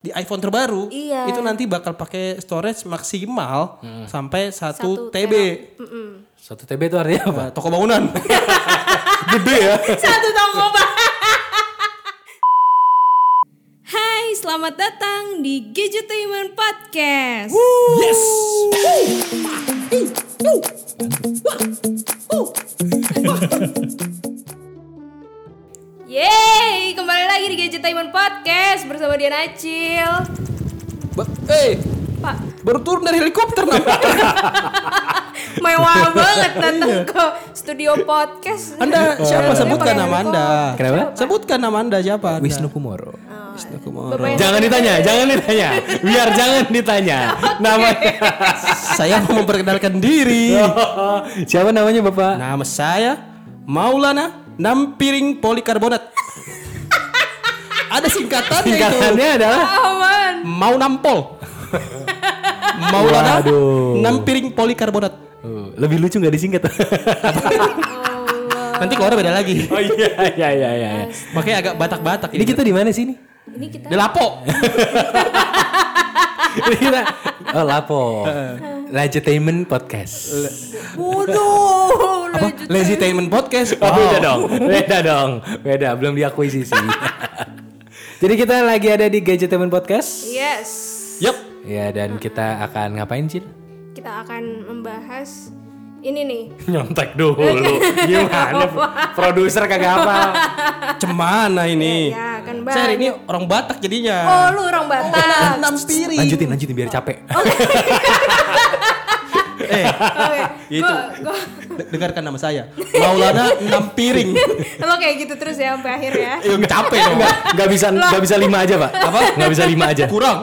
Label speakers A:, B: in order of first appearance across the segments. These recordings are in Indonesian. A: di iPhone terbaru
B: Iya.
A: itu nanti bakal pakai storage maksimal
C: Hmm.
A: sampai 1
B: Satu
A: TB.
C: Satu TB itu artinya apa?
A: Nah, toko bangunan. Gede ya.
B: Satu toko Pak. Hai, selamat datang di Gadgetainment Podcast.
A: Yes.
B: Yeay, kembali lagi di Gadgetainment Podcast bersama Dian Acil.
A: Ba- Eh,
B: Pak,
A: baru turun dari helikopter nampaknya.
B: mewah banget datang ke studio podcast.
A: Iya. Anda siapa
B: Ini
A: sebutkan
B: pakai
A: nama
B: handphone.
A: Anda?
C: Oh, iya. Kenapa?
A: Sebutkan nama Anda siapa? Anda?
C: Wisnu Kumoro.
A: Wisnu Kumoro.
B: Bapak yang-
C: Jangan ditanya, jangan ditanya. Biar jangan ditanya. Namanya
A: Saya mau memperkenalkan diri.
C: Oh, siapa namanya Bapak?
A: Nama saya Maulana Nampiring Polikarbonat. Ada singkatannya itu.
C: Singkatannya adalah
B: Aman.
A: Mau nampol. Maulana
C: Waduh.
A: Nampiring Polikarbonat.
C: Oh, lebih lucu nggak disingkat.
A: Nanti keluar beda lagi.
C: oh iya iya iya iya.
A: Makanya agak batak-batak
C: Ini kita di mana sih ini?
B: Ini kita
A: Delapo.
C: Ini kita oh Lapo. Lajetainment podcast.
B: Waduh,
A: Apa?
B: lanjut.
A: Lazytainment Podcast.
C: Oh,
A: Wow.
C: beda dong, beda dong, beda. Belum diakui sih. sih. Jadi kita lagi ada di Gadgetainment podcast.
B: Yes.
A: Yup.
C: Ya dan kita akan ngapain Cil?
B: Kita akan membahas ini nih.
C: Nyontek dulu. Gimana? Produser kagak apa.
A: Cemana ini?
B: Ya,
C: Iya,
B: kan
A: Saya hari
B: banyak.
A: ini orang Batak jadinya.
B: Oh, lu orang Batak.
A: Nampiring.
C: Lanjutin, lanjutin biar capek.
A: Eh,
B: Oke.
A: Itu.
B: Gua, gua-
A: de- dengarkan nama saya. Maulana Nampiring.
B: lo kayak gitu terus ya sampai akhir ya.
C: Iya,
A: Eh, capek dong.
C: Nggak, nggak bisa, nggak bisa lima aja pak. Apa? Nggak bisa lima aja.
A: Kurang.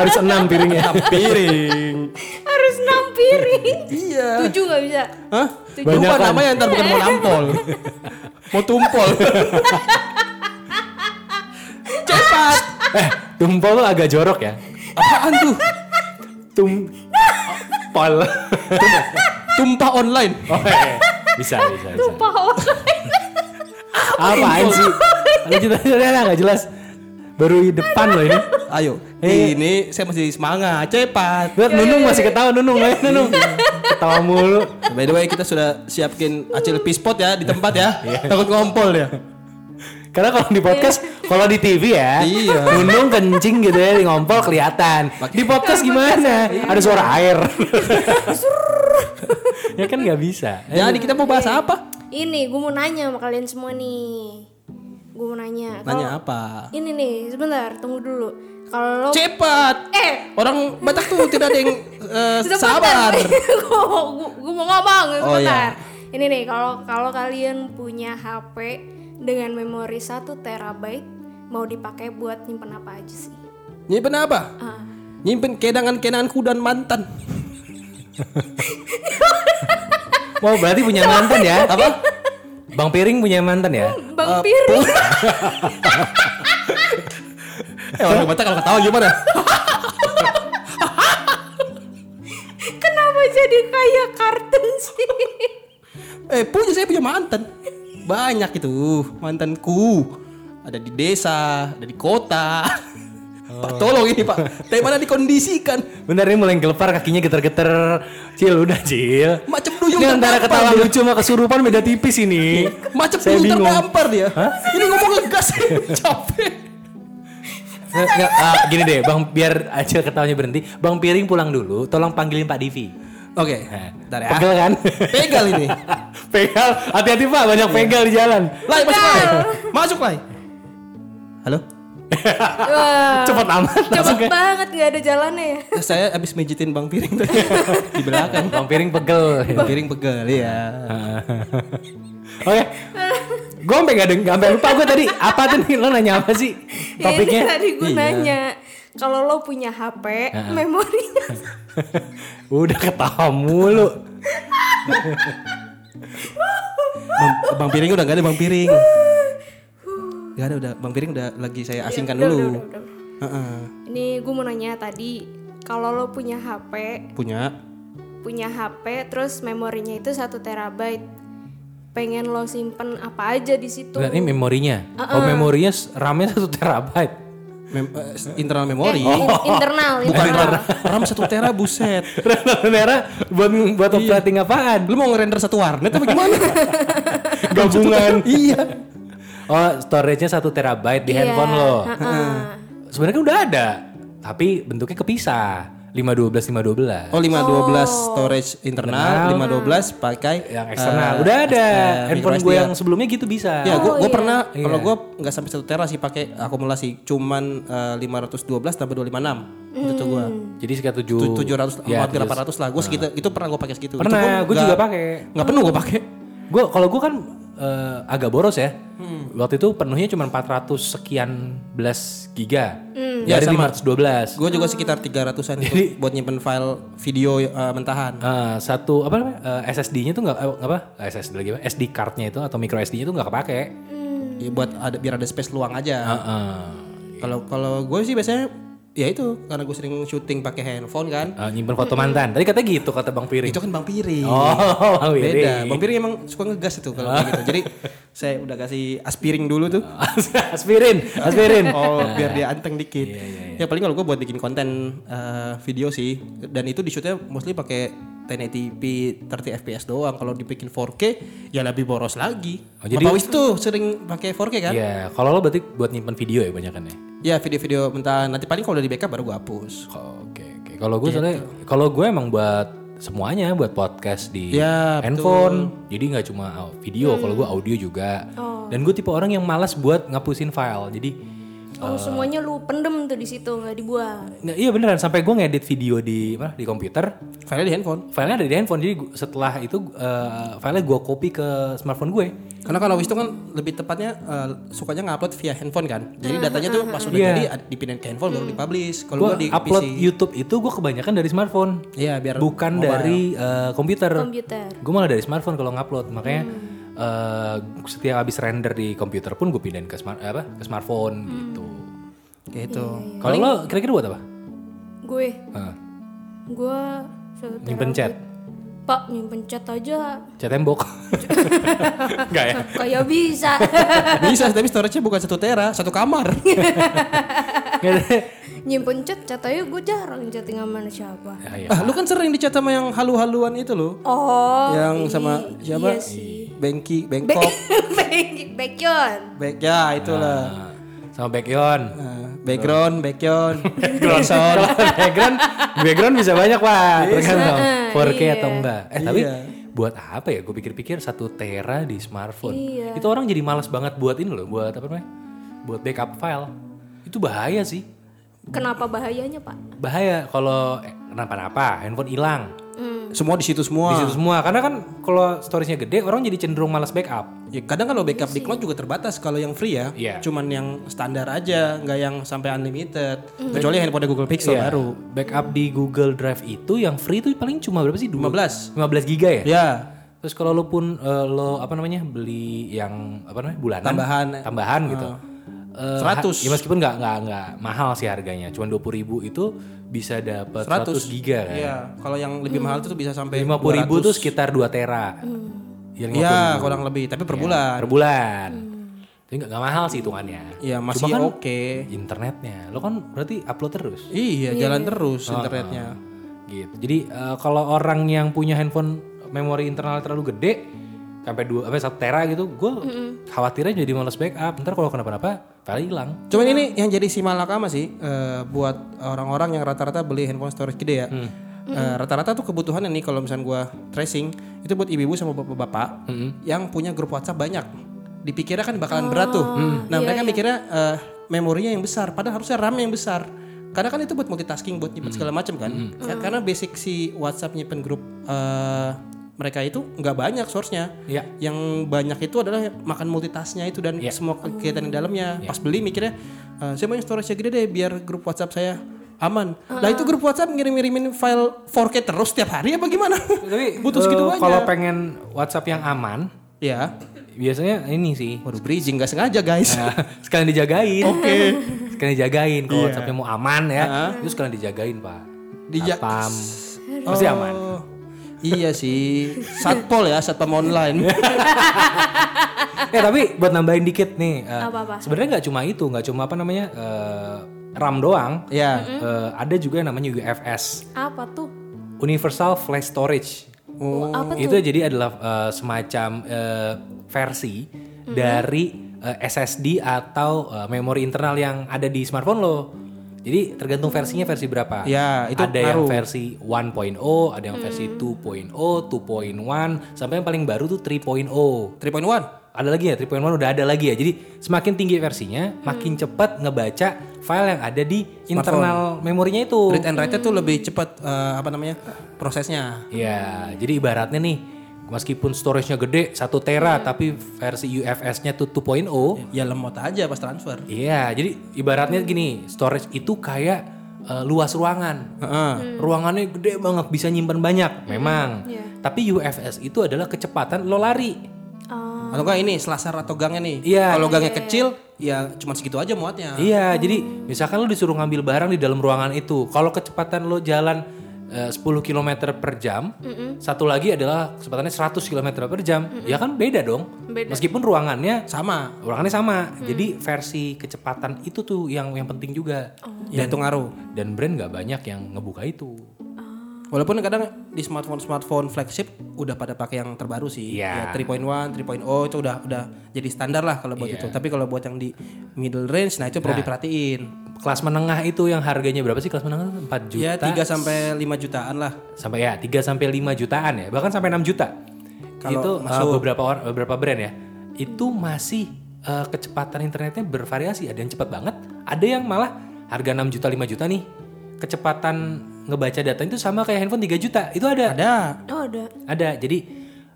C: Harus enam piringnya.
A: Nampiring.
B: Harus nampirin.
A: Iya.
B: Tujuh nggak bisa.
A: Hah?
B: Tujuh.
A: Lupa
C: Banyakan.
A: namanya ntar bukan mau nampol. mau tumpol. Cepat.
C: Eh, tumpol lo agak jorok ya.
A: Apaan tuh?
C: Tum, pol.
A: Tumpah online.
C: Oh, eh, bisa, bisa, bisa.
B: Lupa orang.
C: Apaan sih? Lanjut aja, udah nggak jelas. Baru di depan loh ini.
A: Ayo,
C: Eh.
A: ini saya masih semangat. Cepat.
C: Lihat Nunung masih ketawa Nunung, ayo Nunung. Ketawa mulu.
A: By the way, kita sudah siapkin acil pispot ya di tempat ya. Takut ngompol ya.
C: Karena kalau di podcast, kalau di TV ya,
A: Iya.
C: Nunung kencing gitu ya, di ngompol kelihatan. Di podcast gimana? Ada suara air. ya kan nggak bisa.
A: Jadi kita mau bahas apa?
B: Ini gue mau nanya sama kalian semua nih. Gue mau nanya. Kalau-
A: Nanya apa?
B: Ini nih, sebentar, tunggu dulu. Kalau lo-
A: Cepat.
B: eh
A: Orang Batak tuh tidak ada yang eh,
B: sebentar
A: sabar.
B: gue mau ngomong
A: Oh,
C: iya.
B: sebentar ini nih kalau kalau kalian punya HP dengan memori 1 terabyte mau dipakai buat nyimpen apa aja sih
A: Nyimpen apa?
B: Ah.
A: Nyimpen kedangan-kenanganku dan mantan.
C: Wow, berarti punya mantan ya? Apa? Bang Piring punya mantan ya?
B: bang piring
A: Eh orang Batak kalau ketawa gimana?
B: kenapa jadi kayak kartun sih
A: eh punya saya punya mantan. Banyak itu mantanku. Ada di desa, ada di kota. Pak tolong ini Pak. Tapi mana dikondisikan?
C: Bener ini mulai gelepar kakinya geter-geter. Cil udah Cil.
A: Macam duyung
C: Ini antara
A: terdampar
C: ketawa
A: dia.
C: lucu sama kesurupan beda tipis ini.
A: Macam
C: Saya
A: duyung
C: bingung.
A: terdampar dia. Ini ngomong ngegas capek.
C: Nggak, nggak, ah, gini deh, Bang biar aja ketawanya berhenti. Bang Piring pulang dulu, tolong panggilin Pak Divi.
A: Oke,
C: Nah,
A: bentar ya.
C: Pegel kan?
A: Pegal ini.
C: pegal, hati-hati Pak, banyak
A: Iya.
C: pegal di jalan.
A: Lai masuk lai. Masuk lai. Halo. Ah.
B: Wah,
C: Cepet amat langsung
B: cepet
C: kayak-
B: banget nggak ada jalannya ya
A: Eh, Saya habis mijitin Bang Piring tadi di belakang.
C: Bang Piring pegel.
A: Bang Piring pegel ya.
C: Oke. Gue sampai nggak deng- sampai lupa gue tadi apa tuh nih lo nanya apa sih
B: ini
C: topiknya? iya.
B: tadi gue nanya kalau lo punya HP memorinya
C: Udah ketawa mulu.
A: Bang, Bang Piring udah gak ada Bang Piring. Gak ada udah Bang Piring udah lagi saya asingkan
B: Iya, Udah, udah,
A: dulu.
B: udah, udah.
A: Heeh.
B: Ini gue mau nanya tadi, kalau lo punya HP,
A: Punya
B: punya HP, terus memorinya itu satu terabyte, pengen lo simpen apa aja di situ?
C: Bentar, ini memorinya. Oh memorinya s- RAM-nya satu terabyte.
A: Mem- eh, internal memori.
B: Eh, in- internal,
A: Bukan
B: internal.
A: RAM. RAM satu tera buset.
C: Renal merah buat buat operating apaan?
A: Lu mau ngerender satu warnet apa gimana?
C: Gabungan.
A: iya.
C: Oh, storage-nya 1 terabyte di
B: Iya,
C: handphone lo.
B: heeh.
C: Sebenarnya kan udah ada, tapi bentuknya kepisah. 512 512.
A: Oh 512 storage internal, 512 pakai eh,
C: Yang Oh. Ah, eksternal udah ada. handphone gue yang sebelumnya gitu bisa.
A: Ya, gue
B: Oh,
A: gue
B: iya.
A: pernah kalau gue nggak sampai satu tera sih pakai akumulasi, cuman eh, 512 tambah 256 itu tuh gue.
B: Hmm.
C: Jadi sekitar
A: 700
C: 7 ya,
A: hampir 800 lah. Gue segitu itu pernah gue pakai segitu.
C: Pernah,
A: Itu
C: gue
A: nggak-
C: juga pakai.
A: Nggak penuh gue pakai.
C: Gue kalau gue kan eh, agak boros ya.
A: Hmm.
C: Waktu itu penuhnya cuma 400 sekian belas giga.
A: Ya,
C: Dari
A: sama.
C: 512.
A: Gue juga sekitar 300-an Jadi, buat nyimpen file video eh, mentahan.
C: Eh, satu apa namanya eh, SSD-nya tuh nggak eh, apa Eh, SSD lagi apa SD cardnya itu atau micro SD-nya tuh nggak kepake.
A: Ya, buat ada biar ada space luang aja.
C: Heeh.
A: Kalau kalau gue sih biasanya ya itu karena gue sering syuting pakai handphone kan.
C: Eh, nyimpen foto mantan. Tadi katanya gitu kata Bang Piring.
A: Itu kan Bang Piring.
C: Oh, Bang
A: Beda.
C: Piring.
A: Bang Piring emang suka ngegas itu kalau kayak gitu. Jadi saya udah kasih aspiring dulu tuh.
C: aspirin, aspirin.
A: Oh, biar dia anteng dikit.
C: Iya,
A: Ya paling kalau gue buat bikin konten eh, video sih dan itu di shootnya mostly pakai 1080p 30 fps doang. Kalau dibikin 4K ya lebih boros lagi.
C: Oh,
A: jadi
C: jadi-
A: Bapak Wis tuh sering pakai 4K kan?
C: Iya, kalau lo berarti buat nyimpen video ya banyak ya.
A: Ya video-video bentar nanti paling kalau udah di backup baru gue hapus.
C: Oke, oke. Kalau
A: Gitu.
C: gue soalnya kalau gue emang buat semuanya buat podcast di
A: Ya,
C: handphone. Jadi nggak cuma au- video, kalau gue audio juga. Dan gue tipe orang yang malas buat ngapusin file. Jadi
B: Oh, semuanya lu pendem tuh di situ nggak dibuang.
C: nah, iya beneran sampai gue ngedit video di mana di komputer,
A: Filenya di handphone.
C: filenya ada di handphone. Jadi gu- setelah itu eh, filenya gue copy ke smartphone gue.
A: Karena kalau Wisnu kan lebih tepatnya eh, sukanya ngupload via handphone kan. Jadi datanya tuh pas udah jadi ad- dipindahin ke handphone baru dipublish. Kalau
C: Gue
A: gua di
C: Iya. upload
A: PC.
C: YouTube itu gue kebanyakan dari smartphone.
A: Iya, biar
C: bukan dari eh, komputer.
B: Komputer.
C: Gue malah dari smartphone kalau ngupload, makanya
A: Hmm.
C: eh, setiap habis render di komputer pun gue pindahin ke smart apa ke smartphone
A: Hmm.
C: gitu.
A: gitu.
C: Kalau lo kira-kira buat apa?
B: Gue,
C: Heeh.
B: gue satu
C: nyimpen
B: terabyte.
C: chat,
B: Pak nyimpen chat aja
C: chat tembok. Enggak ya?
B: kayak bisa.
A: Bisa tapi storage-nya bukan satu tera, satu kamar.
C: Nggak ada.
B: nyimpen chat, chat aja gue jarang chatting sama siapa.
C: Ya, ya.
A: ah, lu kan sering dicat sama yang halu-haluan itu loh.
B: Oh,
A: yang sama
B: i-
A: siapa?
B: Iya sih.
A: Bengki, Bengkok.
B: Baek- Baekhyun.
A: Back ya itulah.
C: Nah, sama background.
A: Eh, background, backyard,
B: Iya.
C: Kalau
A: background.
C: background, background bisa banyak pak. Tergantung 4K atau enggak. Eh tapi
A: Ah, Iya.
C: buat apa ya? Gue pikir-pikir satu tera di smartphone.
A: Iya.
C: Itu orang jadi malas banget buat ini loh. Buat apa namanya? Buat backup file. Itu bahaya sih.
B: Kenapa bahayanya pak?
C: Bahaya kalau eh, kenapa-napa handphone hilang.
A: semua di situ
C: Di
A: semua.
C: situ semua. Karena kan kalau storage-nya gede, orang jadi cenderung malas backup.
A: Ya, kadang kalau backup
B: Iya
A: di cloud juga terbatas kalau yang free ya,
C: Iya.
A: cuman yang standar aja, nggak yang sampai unlimited.
B: Mm.
A: Kecuali handphone Google Pixel
C: Iya.
A: baru.
C: Backup di Google Drive itu yang free itu paling cuma berapa sih? Dua-
A: 15.
C: 15 giga ya?
A: Ya,
C: Terus kalau lo pun eh, lo apa namanya beli yang apa namanya bulanan
A: Tambahan. Ah.
C: tambahan gitu. Eh,
A: 100.
C: ha- Ya meskipun nggak nggak nggak mahal sih harganya, cuma dua ribu itu bisa dapat
A: 100
C: 100, giga kan.
A: Iya, kalau yang lebih
B: Mm.
A: mahal itu tuh bisa sampai
C: Lima ribu tuh sekitar 2 tera.
A: Hmm.
C: Ya, 50.000
A: Iya, kurang lebih, tapi per bulan.
C: per bulan.
A: Hmm.
C: Jadi nggak nggak mahal sih hitungannya.
A: Iya, masih
C: Cuma kan
A: oke.
C: Internetnya, lo kan berarti upload terus.
A: Iya, jalan
C: Ah,
A: terus internetnya.
C: gitu. Jadi eh, kalau orang yang punya handphone memori internal terlalu gede sampai dua sampai satu tera gitu, gue khawatirnya jadi malas backup. Ntar kalau kenapa-napa, file hilang.
A: Cuman ini yang jadi si malakama sih eh, buat orang-orang yang rata-rata beli handphone storage gede ya. Eh, rata-rata tuh kebutuhannya nih kalau misalnya gua tracing itu buat ibu-ibu sama bapak-bapak yang punya grup WhatsApp banyak. Dipikirnya kan bakalan berat tuh. Nah, mereka mikirnya eh, memorinya yang besar padahal harusnya RAM yang besar. Karena kan itu buat multitasking, buat nyimpen segala macam kan. Ka- Karena basic si WhatsApp nyimpen grup eh, mereka itu nggak banyak source-nya
C: Iya.
A: yang banyak itu adalah makan multitasknya itu dan semua kegiatan di dalamnya.
C: Iya.
A: Pas beli mikirnya "Eh, saya mau yang storage-nya gede deh biar grup WhatsApp saya aman. Lah itu grup WhatsApp ngirim-ngirimin file 4K terus setiap hari apa gimana?
C: Tapi
A: butuh
C: eh,
A: segitu banyak.
C: Kalau pengen WhatsApp yang aman,
A: ya.
C: biasanya ini sih.
A: Waduh bridging nggak sengaja guys.
C: Nah, sekalian dijagain. Oke. Iya. sekalian dijagain kalau WhatsAppnya mau aman ya, itu sekalian dijagain pak.
A: Dija-
C: Satpam. Pasti aman.
A: Oh, iya sih. Satpol ya, satpam
C: Iya.
A: online.
C: Eh tapi buat nambahin dikit nih, eh,
B: Apa-apa?
C: sebenarnya nggak cuma itu, nggak cuma apa namanya eh, RAM doang,
A: Ya.
C: eh, ada juga yang namanya UFS,
B: Apa tuh?
C: Universal Flash Storage.
B: Oh, apa
C: Itu
B: tuh?
C: jadi adalah eh, semacam eh, versi dari eh, SSD atau eh, memori internal yang ada di smartphone lo. Jadi tergantung versinya versi berapa.
A: Ya, itu
C: ada yang
A: ngaruh.
C: versi 1.0, ada yang versi
B: Mm.
C: oh, 2.0, 2.1, sampai yang paling baru tuh oh. 3.0.
A: 3.1.
C: Ada lagi ya 3.1 udah ada lagi ya. Jadi semakin tinggi versinya, makin cepat ngebaca file yang ada di internal memorinya itu.
A: Read and write tuh lebih cepat eh, apa namanya? prosesnya.
C: Ya, jadi ibaratnya nih, meskipun storage-nya gede 1 tera, tapi versi UFS-nya tuh 2.0.
A: Ya lemot aja pas transfer.
C: Iya, jadi ibaratnya gini, storage itu kayak eh, luas ruangan.
A: Heeh.
C: Ruangannya gede banget, bisa nyimpan banyak, memang. Tapi UFS itu adalah kecepatan lo lari.
A: Atau enggak ini selasar atau gangnya nih.
C: Iya.
A: Kalau gangnya kecil ya cuma segitu aja muatnya.
C: Iya, jadi misalkan lo disuruh ngambil barang di dalam ruangan itu, kalau kecepatan lo jalan eh, 10 km per jam, satu lagi adalah kecepatannya 100 km per jam, ya kan beda dong. Meskipun ruangannya
A: Sama.
C: Ruangannya sama. Jadi versi kecepatan itu tuh yang yang penting juga.
A: Ya itu ngaruh.
C: Dan brand nggak banyak yang ngebuka itu.
A: Walaupun kadang di smartphone-smartphone flagship udah pada pakai yang terbaru sih. Ya
C: Iya.
A: 3.1, 3.0 itu udah udah jadi standar lah kalau buat
C: Iya.
A: itu. Tapi kalau buat yang di middle range nah itu perlu diperhatiin.
C: Kelas menengah itu yang harganya berapa sih kelas menengah? 4 juta.
A: Ya 3 sampai 5 jutaan lah.
C: sampai ya 3 sampai 5 jutaan ya, bahkan sampai 6 juta.
A: Kalau
C: itu uh, beberapa orang beberapa brand ya. Itu masih uh, kecepatan internetnya bervariasi. Ada yang cepat banget, ada yang malah harga 6 juta 5 juta nih. Kecepatan ngebaca data itu sama kayak handphone 3 juta. Itu ada.
A: Ada
B: Oh, ada.
C: Ada, jadi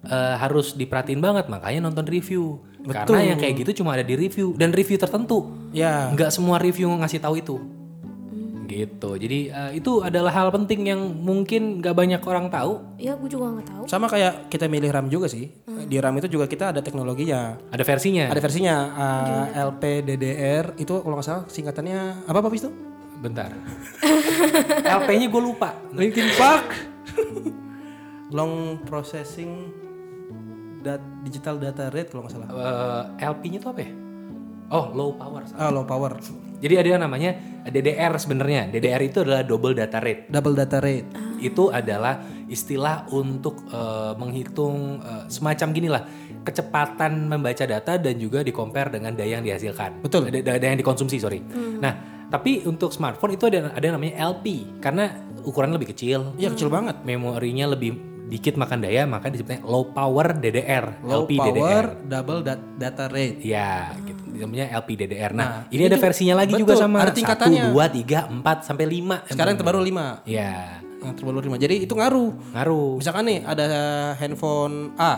C: eh, harus diperhatiin banget makanya nonton review. Karena yang kayak gitu cuma ada di review dan review tertentu.
A: ya
C: Nggak semua review ngasih tahu itu. Gitu. Jadi eh, itu adalah hal penting yang mungkin nggak banyak orang tahu.
B: Ya, gue juga nggak tahu.
A: sama kayak kita milih RAM juga sih. Di RAM itu juga kita ada teknologinya.
C: Ada versinya.
A: Ada versinya uh, LPDDR itu kalau nggak salah singkatannya apa apa Fis, itu?
C: Bentar. LP-nya gue lupa.
A: Linkin Park. Long processing Dat- digital data rate kalau nggak salah.
C: Eh, LP-nya itu apa ya? Oh, low power.
A: Ah, low power.
C: Jadi ada yang namanya DDR sebenarnya. DDR itu adalah double data rate.
A: Double data rate.
C: itu adalah istilah untuk eh, menghitung eh, semacam ginilah kecepatan membaca data dan juga dikompar dengan daya yang dihasilkan.
A: Betul.
C: Da- da- Daya yang dikonsumsi, sorry. Nah, tapi untuk smartphone itu ada ada yang namanya LP karena ukurannya lebih kecil,
A: Iya kecil banget.
C: memorinya lebih dikit makan daya, maka disebutnya low power DDR,
A: Low
C: LP DDR.
A: power double dat- data rate.
C: Ya, gitu. namanya LPDDR. Nah, ini ada versinya lagi juga
A: betul,
C: sama.
A: ada tingkatannya.
C: Satu, dua, tiga, empat, sampai lima.
A: Sekarang yang terbaru 5.
C: Ya,
A: Yang terbaru 5. Jadi itu ngaruh.
C: ngaruh.
A: Misalkan nih ada handphone A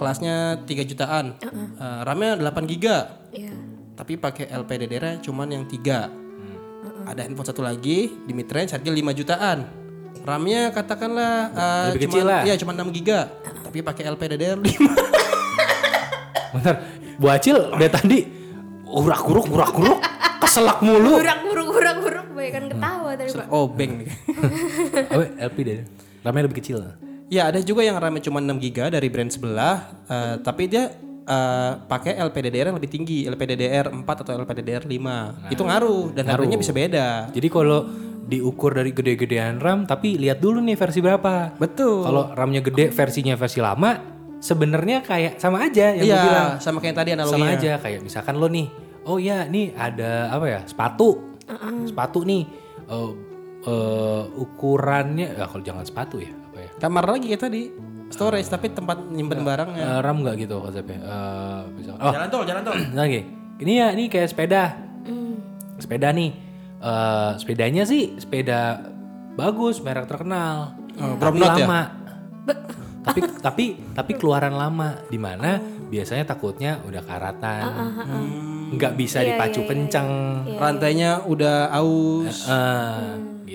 A: kelasnya 3 jutaan. Eh, RAM-nya 8 giga.
B: Iya.
A: tapi pakai LPDDR cuman yang tiga ada handphone satu lagi di mid range harga 5 jutaan RAM-nya katakanlah uh,
C: Lebih
A: cuman,
C: kecil lah.
A: Iya, cuman 6 giga tapi pakai LPDDR 5
C: Bentar, Bu Acil dari tadi "Oh, urak-uruk, urak-uruk, keselak mulu.
B: Burak buruk burak buruk banyak
A: Hmm.
B: kan ketawa tadi pak.
A: oh bang nih
C: Apa LP deh? Ramai lebih kecil.
A: ya ada juga yang RAM-nya cuman 6 giga dari brand sebelah uh, tapi dia uh, pakai LPDDR yang lebih tinggi LPDDR 4 atau LPDDR 5
C: Nah,
A: itu ngaruh dan harganya bisa beda
C: Jadi kalau diukur dari gede-gedean RAM, tapi lihat dulu nih versi berapa.
A: betul
C: Kalau RAM-nya gede, versinya versi lama, sebenarnya kayak sama aja yang gua bilang.
A: iya sama kayak yang tadi
C: Sama
A: analoginya
C: aja kayak misalkan lo nih, oh iya nih ada apa ya sepatu, sepatu nih eh, eh, ukurannya, ya kalau jangan sepatu ya apa ya?
A: kamar lagi kayak tadi storage tapi tempat nyimpen barangnya
C: Eh, RAM nggak gitu konsepnya? Eh, misalkan, oh
A: jalan tol jalan tol
C: lagi ini ya ini kayak sepeda sepeda nih Eh, sepedanya sih sepeda bagus merek terkenal tapi
A: Bromnot ya?
C: lama tapi tapi tapi keluaran lama di mana biasanya takutnya udah karatan nggak bisa dipacu kenceng
A: rantainya udah aus
C: Eh,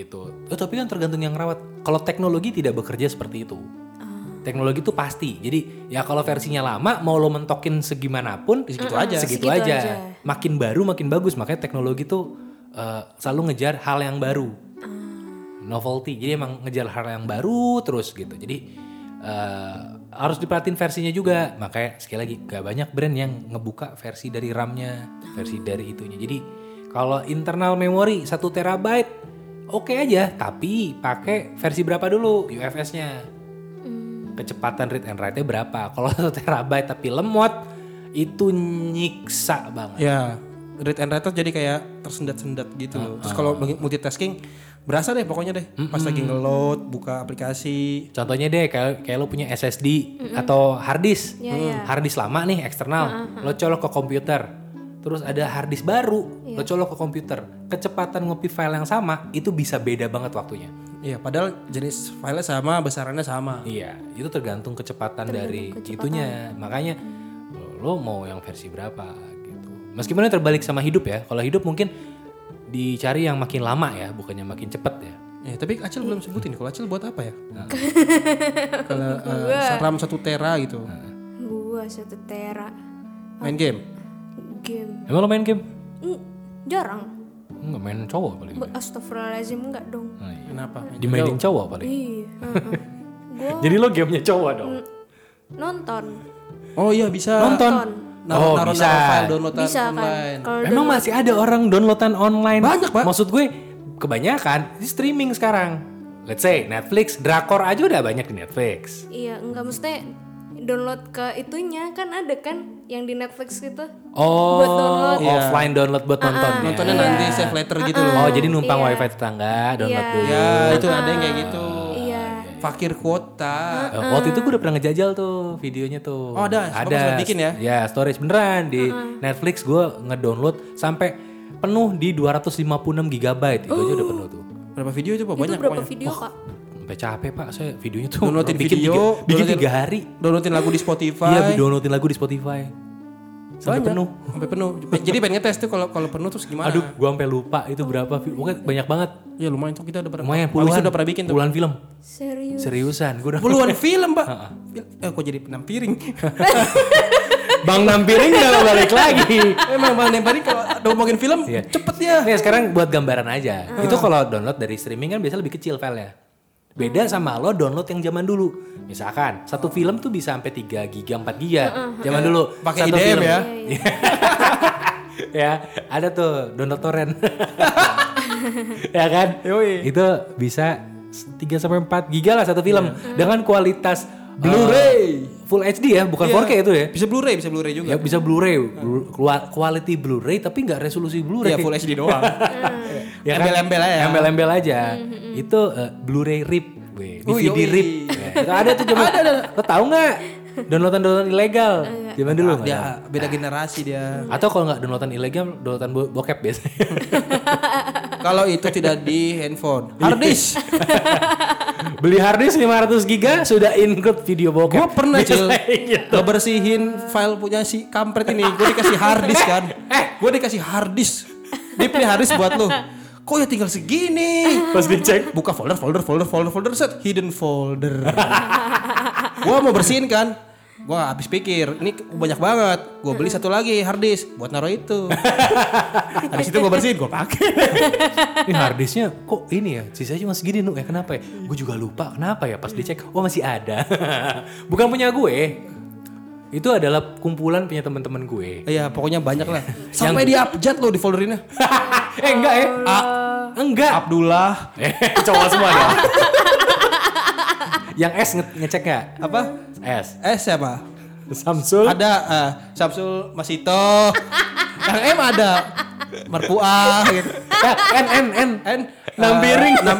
C: gitu oh, tapi kan tergantung yang rawat kalau teknologi tidak bekerja seperti itu teknologi itu pasti jadi ya kalau versinya lama mau lo mentokin segimanapun
A: segitu aja
B: Segitu
C: segitu, aja.
B: aja.
C: Makin baru makin bagus. Makanya teknologi tuh eh, selalu ngejar hal yang baru. Novelty. Jadi emang ngejar hal yang baru terus gitu. Jadi eh, harus diperhatiin versinya juga. Makanya sekali lagi gak banyak brand yang ngebuka versi dari RAM-nya, versi dari itunya. Jadi Kalau internal memory 1 terabyte oke aja, tapi pakai versi berapa dulu UFS-nya? Kecepatan read and write-nya berapa? Kalau 1 terabyte tapi lemot itu nyiksa banget.
A: Ya, read and write tuh jadi kayak tersendat-sendat gitu
C: Ah,
A: loh. Terus kalau bagi- multitasking berasa deh pokoknya deh. Pas lagi ngeload, buka aplikasi.
C: Contohnya deh kayak kayak lo punya SSD atau hard disk.
B: Iya,
C: Hmm.
B: iya.
C: Hard disk lama nih eksternal. Lo colok ke komputer. Terus ada hard disk baru, lo colok ke komputer. Kecepatan ngopi file yang sama itu bisa beda banget waktunya.
A: Iya, padahal jenis filenya sama, besarannya sama.
C: Iya, itu tergantung kecepatan dari itunya. Makanya lo mau yang versi berapa gitu. Meskipun itu terbalik sama hidup ya. Kalau hidup mungkin dicari yang makin lama ya, bukannya makin cepat ya.
A: Ya, tapi Acil belum sebutin kalau Acil buat apa ya? Kalau eh, RAM 1 tera gitu.
B: Gua satu tera
A: Main game.
B: game.
C: Emang lo main game?
B: Mm, jarang.
C: Enggak main cowok paling.
B: Be- Astagfirullahaladzim enggak dong.
C: Nah, iya.
A: Kenapa?
C: Dimainin cowok paling.
B: Iya. heeh. Gua
C: Jadi lo gamenya cowok dong.
B: nonton.
A: Oh iya bisa.
B: Nonton.
A: Naruh,
C: Oh,
A: naruh,
C: bisa.
A: naruh file downloadan
B: Bisa
A: online.
B: kan? Kalau
C: Emang masih ada orang downloadan online.
A: Banyak, Pak.
C: Maksud gue kebanyakan di streaming sekarang. Let's say Netflix, drakor aja udah banyak di Netflix.
B: Iya, enggak mesti download ke itunya kan ada kan yang di Netflix gitu.
C: Oh,
B: Buat download.
C: offline download buat nonton.
B: Iya.
C: ya.
A: iya. Nontonnya nanti save later
B: Ah,
A: gitu loh.
C: Oh, jadi numpang wifi tetangga download dulu.
A: Ya, itu ada yang kayak gitu.
B: Iya. Ah.
A: Fakir kuota.
C: Eh, Waktu itu gue udah pernah ngejajal tuh videonya tuh.
A: Oh, ada. Kamu sempat bikin ya?
C: Ya, storage beneran di Netflix gue ngedownload sampai penuh di 256 GB. Itu aja udah penuh tuh.
A: Berapa video itu Pak?
B: Itu
A: Banyak
B: berapa
A: pokoknya.
B: video, Kak?
C: Sampai capek pak, saya videonya tuh
A: Downloadin
C: bikin
A: video,
C: tiga, bikin
A: downloadin-
C: tiga hari.
A: Downloadin lagu di
C: Iya,
A: Spotify.
C: downloadin lagu di Spotify. Sampai
A: Banyak.
C: penuh.
A: Sampai penuh. Jadi pengen ngetes tuh kalau kalau penuh terus gimana?
C: Aduh, gua sampai lupa itu berapa. vi- Pokoknya banyak banget.
A: Ya lumayan tuh kita udah pernah.
C: Lumayan
A: Habis
C: puluhan.
A: itu udah pernah bikin tuh.
C: Puluhan film.
B: Serius.
C: Seriusan, gue udah
A: Puluhan film, Pak. Eh, kok jadi penampiring?
C: Bang Nampiring udah balik lagi.
A: Emang Bang Nempari kalau ada ngomongin film
C: Iya.
A: cepet ya.
C: Nih sekarang buat gambaran aja. Itu kalau download dari streaming kan biasa lebih kecil filenya.
A: Hmm.
C: Beda sama lo download yang zaman dulu. Misalkan satu film tuh bisa sampai 3 giga, 4 giga. Zaman dulu
A: Pakai
C: satu Iya.
A: IDM ya.
C: ya, ada tuh download torrent. ya kan?
A: Yoi.
C: Itu bisa 3 sampai 4 giga lah satu film dengan kualitas
A: Iya. Hmm. Blu-ray. Iya.
C: uh, full HD ya, bukan 4K itu ya.
A: Bisa Blu-ray, bisa Blu-ray juga.
C: Ya bisa Blu-ray, Blu- kua- quality Blu-ray tapi nggak resolusi Blu-ray.
A: Iya, full HD doang.
C: Ya kan?
A: Embel-embel aja.
C: Embel-embel aja. Itu eh, Blu-ray rip,
A: Wih,
C: weh. DVD
A: Oh, yoi.
C: rip. Ya, itu ada tuh zaman. Lo tahu nggak? Downloadan downloadan ilegal zaman dulu. nggak tahu.
A: Dia beda generasi dia.
C: Atau kalau nggak downloadan ilegal, downloadan bo- bokep biasanya.
A: Kalau itu tidak di handphone,
C: Iya.
A: hard disk.
C: Beli harddisk 500 giga sudah include video bokep.
A: Gue pernah cil
C: Biasanya.
A: ngebersihin file punya si kampret ini. Gue dikasih harddisk kan. Eh, gue dikasih harddisk. Dia punya harddisk buat lo. Kok ya tinggal segini?
C: Pas dicek,
A: Buka folder, folder, folder, folder, folder, set hidden folder. gue mau bersihin kan. Gue habis pikir, ini banyak banget. Gue beli satu lagi harddisk buat naro itu. Habis itu gue bersihin, gue pakai.
C: ini harddisknya kok ini ya sisanya cuma segini nu ya kenapa ya? Gue juga lupa kenapa ya pas dicek, oh masih ada. Bukan punya gue. Itu adalah kumpulan punya teman-teman gue.
A: Iya, pokoknya banyak lah. Sampai di update lo di folderinnya.
C: eh enggak ya? enggak.
A: Abdullah,
C: Eh, cowok semua dong. Yang S nge- ngecek nggak?
A: apa?
C: S.
A: Eh siapa?
C: Samsul.
A: ada eh, Samsul Masito yang M ada Merpuah gitu
C: Eh, N N N. Eh,
A: N
C: Nambiring.
A: nam,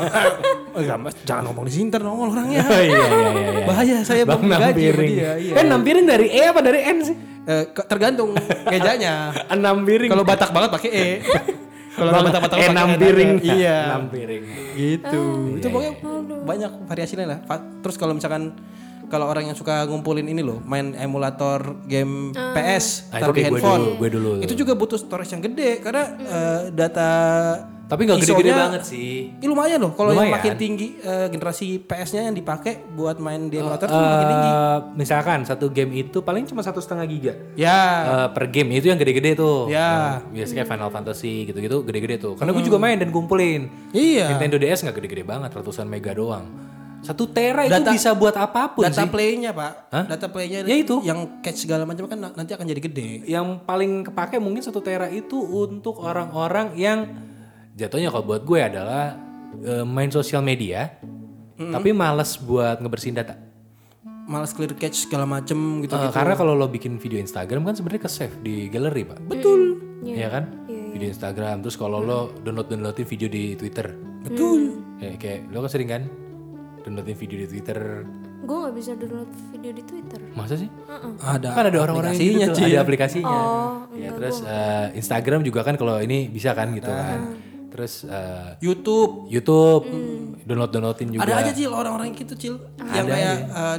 A: Oh, enggak, Mas, jangan ngomong di sini ntar nongol orangnya
C: Oh, iya, iya, iya, iya.
A: bahaya saya
C: Bang
A: belum digaji sama
C: Nambiring.
A: dia iya.
C: Eh, Nambiring dari E apa dari N sih?
A: Eh, ke- tergantung kejanya
C: Eh, Nambiring.
A: kalau Batak banget pakai E kalau
C: Bang,
A: nggak Batak-Batak
C: E
A: pakai N
C: Nambiring.
A: aja. iya
C: Nambiring.
A: gitu itu pokoknya banyak variasinya lah Fa- terus kalau misalkan kalau orang yang suka ngumpulin ini loh main emulator game PS
C: Ah,
A: taruh
C: itu
A: di
C: kayak gue
A: handphone
C: dulu, gue dulu.
A: itu juga butuh storage yang gede karena eh, data
C: Eh, Tapi nggak gede-gede
A: ISO-nya-
C: banget sih.
A: Ih, lumayan loh kalau yang
C: Lumayan.
A: makin tinggi eh, generasi PS-nya yang dipakai buat main di emulator tuh makin tinggi
C: Eh, misalkan satu game itu paling cuma satu setengah giga.
A: ya
C: Eh, per game itu yang gede-gede tuh.
A: Ya.
C: Eh, biasanya kayak Final Fantasy gitu-gitu Hmm. gede-gede tuh. Karena gue juga main dan kumpulin.
A: iya
C: Nintendo DS nggak gede-gede banget, ratusan mega doang. Satu tera itu
A: Data-
C: bisa buat apapun
A: Data
C: sih.
A: playnya pak,
C: Hah?
A: data playnya
C: Ya itu.
A: yang catch segala macam kan na- nanti akan jadi gede.
C: Yang paling kepake mungkin satu tera itu untuk orang-orang yang jatuhnya kalau buat gue adalah eh, main sosial media, tapi males buat ngebersihin data.
A: Males clear catch segala macem gitu.
C: Eh, karena kalau lo bikin video Instagram kan sebenarnya ke save di galeri pak. Betul. Iya Hmm. kan? Video Instagram. Terus kalau lo download downloadin video di Twitter.
A: Betul.
C: Kayak, kayak lo kan sering kan downloadin video di Twitter.
B: Gue nggak bisa download video di Twitter.
C: Masa sih?
A: Oh. Ada.
C: Kan ada orang-orang yang gitu
A: aplikasinya,
C: tuh,
A: Ci.
C: ada aplikasinya.
B: Oh,
C: ya terus eh, Instagram juga kan kalau ini bisa kan gitu kan. Terus eh,
A: YouTube.
C: YouTube download downloadin juga.
A: Ada aja cil orang-orang yang gitu cil yang kayak uh,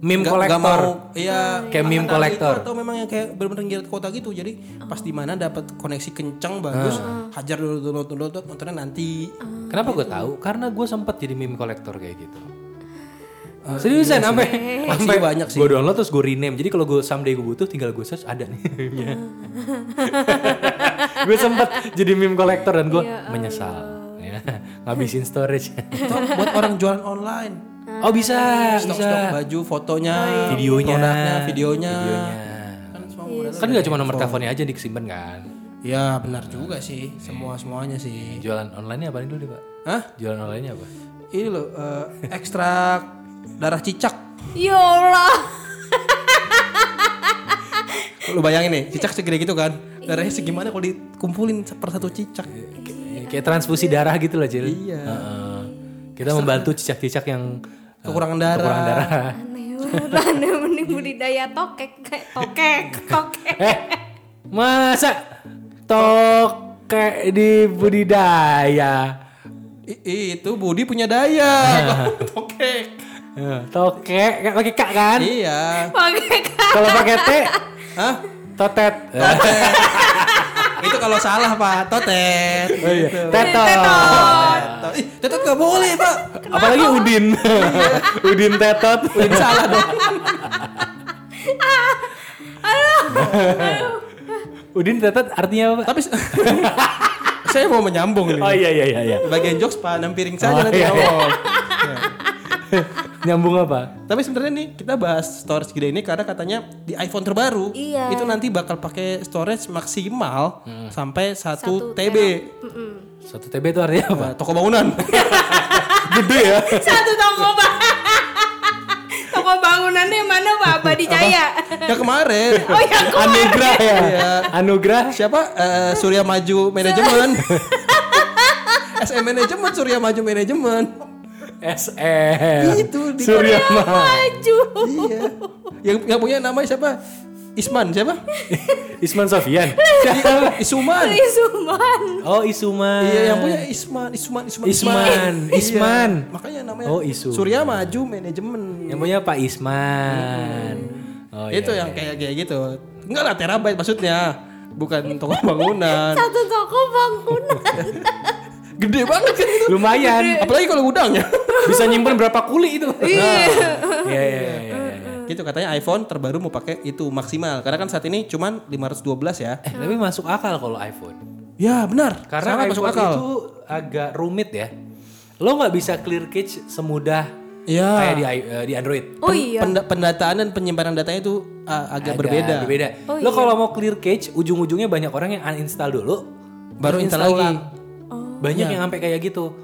C: Meme
A: nggak- nggak
C: kolektor.
A: mau- Iya.
C: Kayak meme Oh.
A: atau
C: kolektor.
A: itu, Atau memang yang kayak benar-benar gila ke kota gitu. Jadi pas di mana dapat koneksi kencang bagus,
C: Ah.
A: hajar dulu dulu dulu dulu nontonnya nanti.
C: Kenapa gue tahu? Karena gue sempat jadi meme kolektor kayak gitu. Seriusan sampai
A: Pasti
C: sampai
A: banyak sih.
C: Gue download terus gue rename. Jadi kalau gue someday gue butuh tinggal gue search ada nih. gue sempat jadi meme kolektor dan gue menyesal. Ya, ngabisin storage.
A: Atau buat orang jualan online.
C: oh bisa, Oh, iya.
A: Stok-stok
C: bisa.
A: baju, fotonya,
C: Videonya.
A: produknya, videonya. Kan semua modalnya
C: Kan gak cuma nomor teleponnya aja disimpan kan.
A: Ya benar juga sih, semua semuanya sih.
C: Jualan online-nya apa dulu nih, Pak?
A: Hah?
C: Jualan online-nya apa?
A: Ini loh eh, ekstrak darah cicak.
B: Ya Allah.
A: Lu bayangin nih, cicak segede gitu kan.
B: Iya.
A: Darahnya segimana kalau dikumpulin per satu cicak.
C: Iya.
A: Iya.
C: Kayak- Kayak transfusi darah gitu lah, Jil. Iya. Kita membantu cicak-cicak yang eh,
A: Kekurangan darah.
C: kekurangan darah.
B: Aneh banget, aneh mending budidaya tokek kayak tokek, tokek.
C: Eh, masa tokek di budidaya?
A: I- itu Budi punya daya.
C: Ah.
A: Tokek.
C: Eh, Tokek, kan pakai kak kan?
A: Iya.
B: Pakai
C: Kalau pakai T,
A: Hah?
C: totet. Eh,
A: itu kalau salah Pak, totet.
C: oh iya, tetot. Oh.
A: Tetot. Ih, tetot nggak boleh Pak.
C: Apalagi Udin. Udin tetot.
A: Ini salah dong.
C: Udin tetot artinya apa?
A: Tapi s- saya mau menyambung
C: Oh
A: nih.
C: iya iya iya. iya.
A: Bagian jokes Pak, enam piring saja
C: Oh,
A: nanti
C: iya, iya.
A: ngomong.
C: Nyambung apa?
A: Tapi sebenarnya nih kita bahas storage gede ini karena katanya di iPhone terbaru
B: Iya.
A: itu nanti bakal pakai storage maksimal
C: Hmm.
A: sampai 1
B: Satu
A: TB.
C: Satu TB itu artinya apa?
A: Eh, toko bangunan.
C: Gede ya.
B: satu toko bang. toko bangunannya yang mana Pak? Abadi Jaya.
A: ya kemarin.
B: Oh ya kok.
C: Anugrah ya.
A: Iya.
C: Anugrah.
A: siapa Eh, Surya Maju Manajemen SM Manajemen Surya Maju Manajemen
C: SM.
A: Itu, di-
C: Surya Ma.
B: ya, Maju.
A: iya yang yang punya nama siapa Isman siapa
C: Isman Sofian.
A: Isuman
B: Ini Suman.
C: Oh Isuman.
A: iya yang punya Isman Isuman Isman
C: Isman,
A: Iya.
C: Isman.
A: makanya namanya
C: Oh, Isu.
A: Surya Maju Manajemen
C: Yang punya Pak Isman. Oh, iya,
A: itu
C: iya.
A: yang kayak kayak gitu enggak lah terabyte maksudnya bukan toko bangunan
B: Satu toko bangunan.
A: gede banget kan itu
C: iya. lumayan.
A: apalagi kalau ya. gudangnya
C: Bisa nyimpen berapa kuli itu? Iya iya iya. iya, iya.
A: gitu katanya iPhone terbaru mau pakai itu maksimal karena kan saat ini cuman 512 ya
C: Eh, tapi masuk akal kalau iPhone.
A: Ya benar. Sangat
C: Karena iPhone itu agak rumit ya. Lo nggak bisa clear catch semudah
A: Iya.
C: kayak di i- eh, di Android.
B: Oh iya.
A: Penda- pendataan dan penyimpanan datanya itu uh, agak
C: Ada,
A: berbeda.
C: berbeda. lo kalau mau clear cache, ujung-ujungnya banyak orang yang uninstall dulu,
A: Baru
C: terus
A: install lagi.
C: ulang. Banyak yang sampai kayak gitu.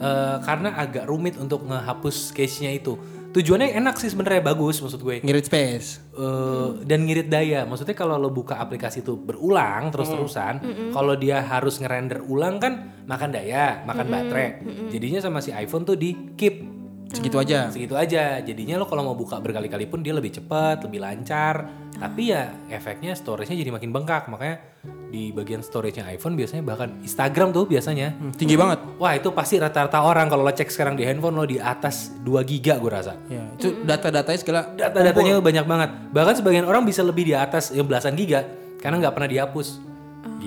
C: Eh, karena agak rumit untuk ngehapus cache-nya itu. Tujuannya enak sih sebenarnya bagus maksud gue.
A: Ngirit space.
C: Eh, dan ngirit daya. Maksudnya kalau lo buka aplikasi itu berulang terus-terusan, kalau dia harus ngerender ulang kan makan daya, makan baterai. Jadinya sama si iPhone tuh di keep Nah,
A: Segitu
B: Hmm.
A: aja.
C: segitu aja jadinya lo kalau mau buka berkali-kali pun dia lebih cepat lebih lancar tapi ya efeknya storage-nya jadi makin bengkak makanya di bagian storage-nya iPhone biasanya bahkan Instagram tuh biasanya
A: Tinggi banget.
C: wah itu pasti rata-rata orang kalau lo cek sekarang di handphone lo di atas 2 giga gue rasa
A: Ya, itu
B: Hmm.
A: data-datanya segala
C: data-datanya banyak banget bahkan sebagian orang bisa lebih di atas ya belasan giga karena nggak pernah dihapus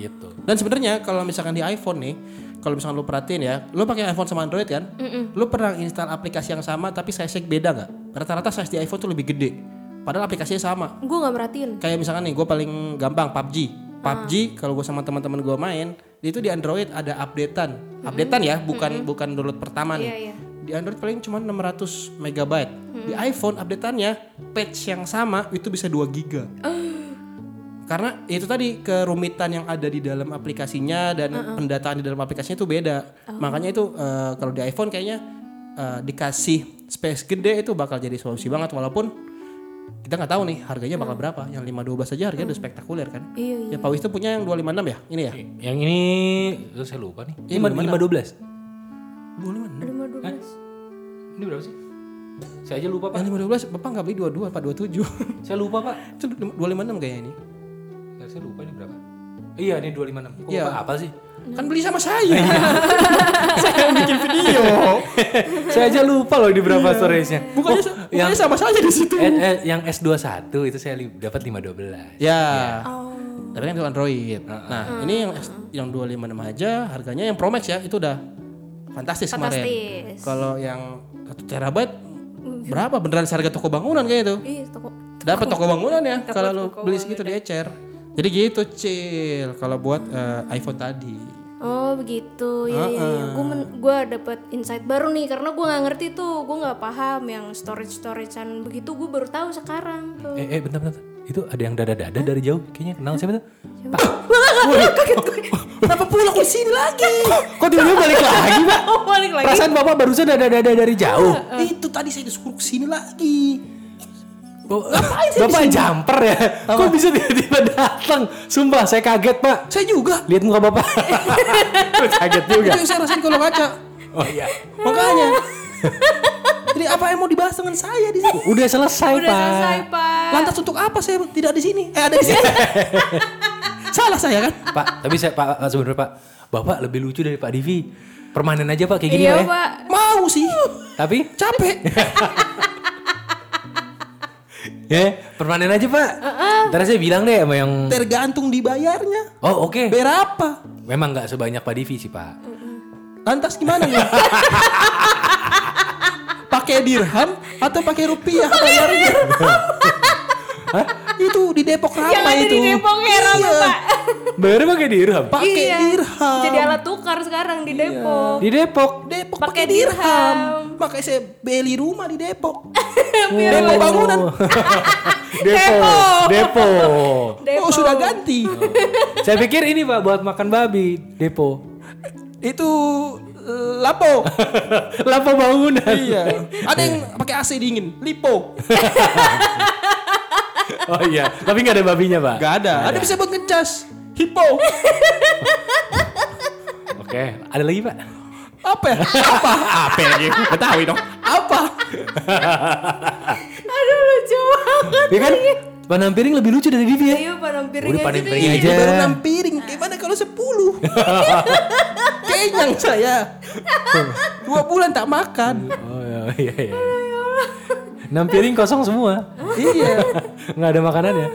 C: gitu
A: Dan sebenarnya kalau misalkan di iPhone nih, kalau misalkan lu perhatiin ya, lu pakai iPhone sama Android kan? Lu pernah install aplikasi yang sama tapi size-nya beda nggak? Rata-rata size di iPhone tuh lebih gede. Padahal aplikasinya sama.
B: Gue gak merhatiin.
A: Kayak misalkan nih, gue paling gampang PUBG.
B: Ah.
A: PUBG kalau gue sama teman-teman gue main, itu di Android ada updatean. Updatean ya, bukan bukan download pertama nih.
B: Iya, iya.
A: Di Android paling cuma 600 megabyte. Di iPhone updateannya patch yang sama itu bisa 2 giga. Karena itu tadi kerumitan yang ada di dalam aplikasinya dan pendataan di dalam aplikasinya itu beda. Makanya itu eh, kalau di iPhone kayaknya eh, dikasih space gede itu bakal jadi solusi banget walaupun kita nggak tahu nih harganya bakal berapa. Yang 512 aja harganya udah spektakuler kan. Ya
B: Iya,
A: Pak Wis tuh punya yang 256 ya? Ini ya?
C: Yang ini terus saya lupa nih.
A: Ini
C: Lima-
A: gimana?
C: 512.
A: 256.
B: Lima dua
A: Eh?
B: belas.
C: Ini berapa sih? Saya aja lupa, Pak.
A: Yang 512 Bapak nggak beli 22 Pak 27.
C: Saya lupa, Pak.
A: itu 256 kayaknya ini.
C: Saya- Saya lupa ini berapa. Iya, ini 256. Kok
A: Iya.
C: Bapak apa sih?
A: Kan beli sama saya. saya yang bikin video.
C: saya aja lupa loh di berapa storage-nya.
A: Bukannya, sa- bukannya sama saya di situ.
C: Iya. Eh, eh, yang S21 itu saya li- dapat 512.
A: Ya.
B: Oh.
A: Tapi kan itu Android. Nah, ini yang yang 256 aja harganya yang Pro Max ya, itu udah fantastis, kemarin.
B: Fantastis. Mhm.
A: Kalau yang 1 terabyte berapa beneran seharga toko bangunan kayak itu?
B: Iya, toko.
A: Dapat toko bangunan ya
B: Dapat
A: kalau lu
B: toko
A: beli segitu di ecer. Jadi gitu, Cil. Kalau buat eh, iPhone tadi.
B: Oh begitu, ya ya ya. Gue gue dapet insight baru nih karena gue nggak ngerti tuh, gue nggak paham yang storage storagean begitu. Gue baru tahu sekarang tuh.
C: Eh, eh, bentar, bentar. Itu ada yang dada-dada dari jauh. Kayaknya kenal siapa tuh? Pak.
A: Ah, Kenapa pula aku di sini lagi?
C: Kok tiba-tiba balik lagi, Pak?
B: Oh balik lagi. Iya.
C: Perasaan Bapak barusan dada-dada dari jauh.
B: Eh.
A: Itu tadi saya disuruh ke sini lagi.
C: Bapak, jumper ya? Kok bisa tiba-tiba datang? Sumpah, saya kaget, Pak.
A: Saya juga.
C: Lihat muka Bapak. kaget
A: Itu
C: juga.
A: yang saya rasain kalau ngaca.
C: Oh iya.
A: Makanya. Jadi apa yang mau dibahas dengan saya di sini?
C: Udah selesai,
B: Udah
C: Pak.
B: selesai pak.
A: Lantas untuk apa saya tidak di sini? Eh ada di sini. Salah saya kan?
C: Pak, tapi saya Pak Pak, sebenarnya Pak, Bapak lebih lucu dari Pak Divi. Permanen aja Pak kayak gini
B: iya
C: Pak, ya.
B: pak.
A: Mau sih.
C: Tapi
A: Capek.
C: ya permanen aja Pak. Ntar saya bilang deh sama yang
A: Tergantung dibayarnya.
C: Oh, oke.
A: Berapa?
C: Memang nggak sebanyak Pak Divi sih, Pak.
A: Lantas gimana nih? pakai dirham atau pakai rupiah bayarnya? Hah? itu di Depok
B: Yang
A: ramai
B: ada
A: itu.
B: di Depok ya rame,
A: Iya.
B: pak.
C: Bayarnya pakai dirham, Pak.
A: Pakai
B: Iya.
A: dirham.
B: Jadi alat tukar sekarang di Depok.
C: Di Depok.
A: Depok
B: Pakai
A: pakai dirham.
B: dirham.
A: Makanya saya beli rumah di Depok.
B: Biar
A: Depok bangunan.
C: Depok. Depok.
A: Oh,
B: Depok. Oh.
A: sudah ganti.
C: Saya pikir ini Pak buat makan babi, depo.
A: itu eh, Lapo.
C: Lapa bangunan.
A: iya. Ada yang pakai AC dingin, Lipo.
C: Oh iya, tapi nggak ada babinya, Pak.
A: Gak ada. Ada bisa buat ngecas. Hippo.
C: Oke, ada lagi, Pak.
A: Apa ya? Apa? Apa lagi? Betawi dong. Apa?
B: Aduh lucu banget.
C: Ya kan? Panam piring lebih lucu dari Divi ya.
B: Ayo panam piring
C: Udah
B: aja
C: panam
B: deh.
C: piring aja.
A: Ini baru 6 piring, gimana kalau 10? Kenyang saya. Dua bulan tak makan.
C: Oh iya, iya, iya. Enam piring kosong semua.
A: iya.
C: Nggak ada ya? makanannya.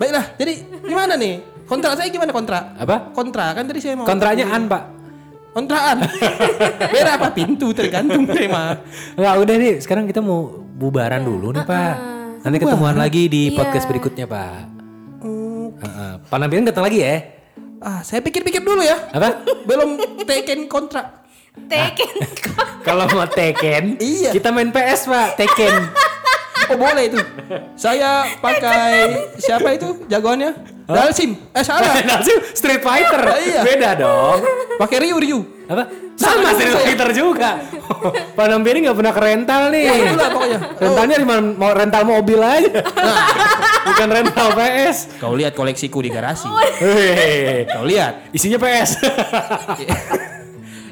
A: Baiklah, jadi gimana nih? Kontrak saya gimana kontrak?
C: Apa?
A: Kontrak kan tadi saya mau
C: Kontraknya an, Pak.
A: kontrakan. Beda apa pintu tergantung tema.
C: Nggak, udah nih. Sekarang kita mau bubaran dulu nih, Pak. Nanti ketemuan lagi di podcast berikutnya, Pak. Heeh. Panam piring ketemu lagi ya.
A: Mm. Ah, saya pikir-pikir dulu ya.
C: Apa?
A: Belum taken kontrak.
B: Taken.
C: Kalau mau Tekken,
A: Iya.
C: kita main PS, Pak. Tekken.
A: Oh boleh itu. Saya pakai siapa itu jagoannya? Dalsim. Eh salah.
C: Nasib Nah, Street Fighter.
A: Iya.
C: Beda dong.
A: Pakai Ryu Ryu.
C: Apa? Sama Street
A: ya?
C: Fighter juga. Panam piring gak pernah ke rental nih.
A: Ya, itulah pokoknya. Oh. Nah.
C: Rentalnya cuma mau rental mobil aja. Bukan rental PS.
A: Kau lihat koleksiku di garasi.
C: Hehehe.
A: Kau lihat.
C: Isinya PS.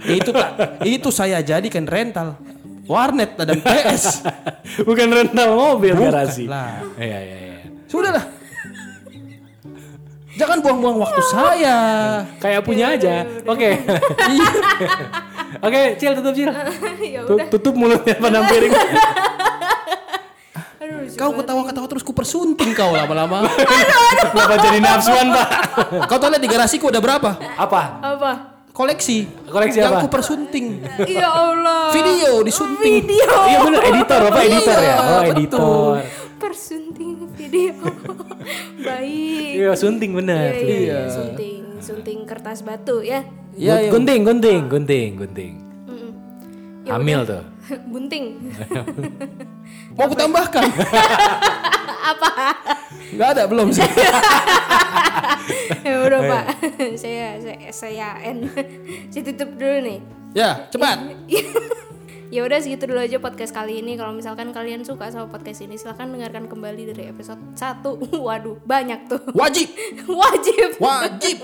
A: itu tak itu saya jadikan rental warnet dan PS
C: Bukan rental mobil
A: Bukan
C: garasi.
A: lah.
C: Iya, iya, iya.
A: sudahlah jangan buang-buang waktu saya Iya.
C: Kayak punya aja. Oke. Oke, Cil tutup Cil.
B: ya
C: Tut- Tutup mulutnya panam piring.
B: Aduh lucu.
A: kau ketawa-ketawa terus ku persunting kau lama-lama
C: Kenapa jadi nafsuan, Pak?
A: kau tahu lihat di garasiku ada berapa
C: Apa?
B: Apa?
A: koleksi
C: Koleksi
A: yang ku
C: apa?
A: persunting
B: Ya Allah.
A: video disunting
B: Video.
C: Iya bener, editor. Bapak editor ya? Oh,
A: Iya, betul.
C: editor.
B: Persunting video. Baik.
C: Iya sunting bener.
B: Iya, iya, iya. Sunting, sunting kertas batu ya.
A: Iya, Iya, iya.
C: Gunting, gunting, gunting, gunting.
B: Mm-mm.
C: Hamil tuh.
B: bunting
A: Mau aku tambahkan?
B: apa
A: Gak ada belum sih.
B: ya udah pak saya saya saya end saya tutup dulu nih
A: ya, cepat.
B: ya udah segitu dulu aja podcast kali ini kalau misalkan kalian suka sama podcast ini silahkan dengarkan kembali dari episode 1 waduh banyak tuh
A: Wajib,
B: wajib
A: wajib.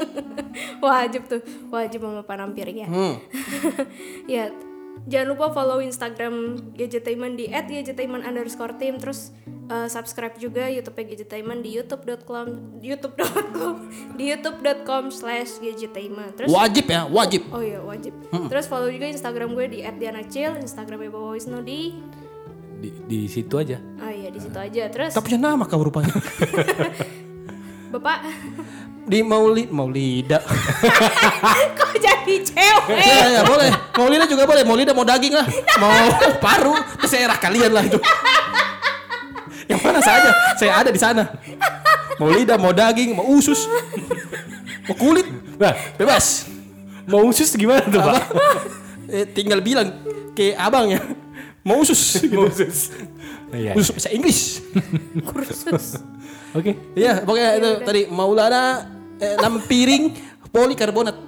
B: wajib tuh wajib sama panampirnya
A: Hmm.
B: ya jangan lupa follow instagram gadgetainment di @gadgetainment underscore team terus eh, subscribe juga youtube gadgetainment di youtube.com youtube.com di youtube.com slash gadgetainment terus
A: Wajib ya, wajib.
B: Oh iya wajib. Terus follow juga Instagram gue di @dianacil, Instagram Ibu Wisnu di
C: Di, di situ aja.
B: Oh iya di situ aja. Terus
A: Tak punya nama kau rupanya.
B: Bapak
A: Di Maulid, Maulida.
B: kok jadi
C: Eh.
B: cewek?
A: ya, ya, boleh. Maulida juga boleh. Maulida mau daging lah. Mau paru, terserah kalian lah itu. Yang mana saja, saya ada di sana. Mau lidah, mau daging, mau usus, mau kulit,
C: Nah,
A: bebas.
C: mau usus gimana tuh pak?
A: Eh, tinggal bilang ke abangnya, mau usus, gitu.
C: Mau usus. Nah, iya.
A: usus bahasa Inggris.
B: Kursus.
C: Oke.
A: Iya, pokoknya itu tadi Maulana eh, Nampiring Polikarbonat.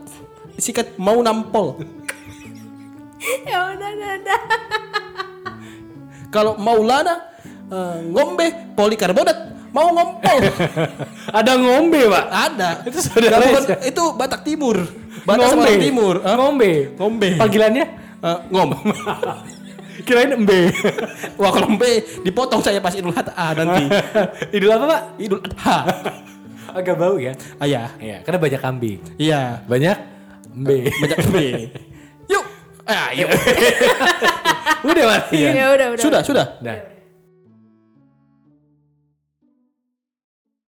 A: Sikat mau nampol.
B: ya udah dadah.
A: Kalau Maulana eh, ngombe polikarbonat mau ngompol.
C: Ada ngombe pak.
A: Ada.
C: Itu saudara
A: Kalau
C: Reza.
A: itu Batak Timur. Batak sama orang Timur. Eh,
C: Ngombe.
A: Ngombe.
C: Panggilannya?
A: eh, ngom.
C: Kirain embe.
A: Wah, kalau ngombe dipotong saya pas Idul Adha nanti.
C: Idul apa pak?
A: Idul Adha.
C: Agak bau ya.
A: Ayah.
C: Iya, karena banyak kambing.
A: Iya.
C: Banyak embe.
A: Banyak ngombe. Yuk. Ah, yuk.
C: Udah Iya. mati ya.
B: Ya udah udah.
A: Sudah, sudah.
C: Nah.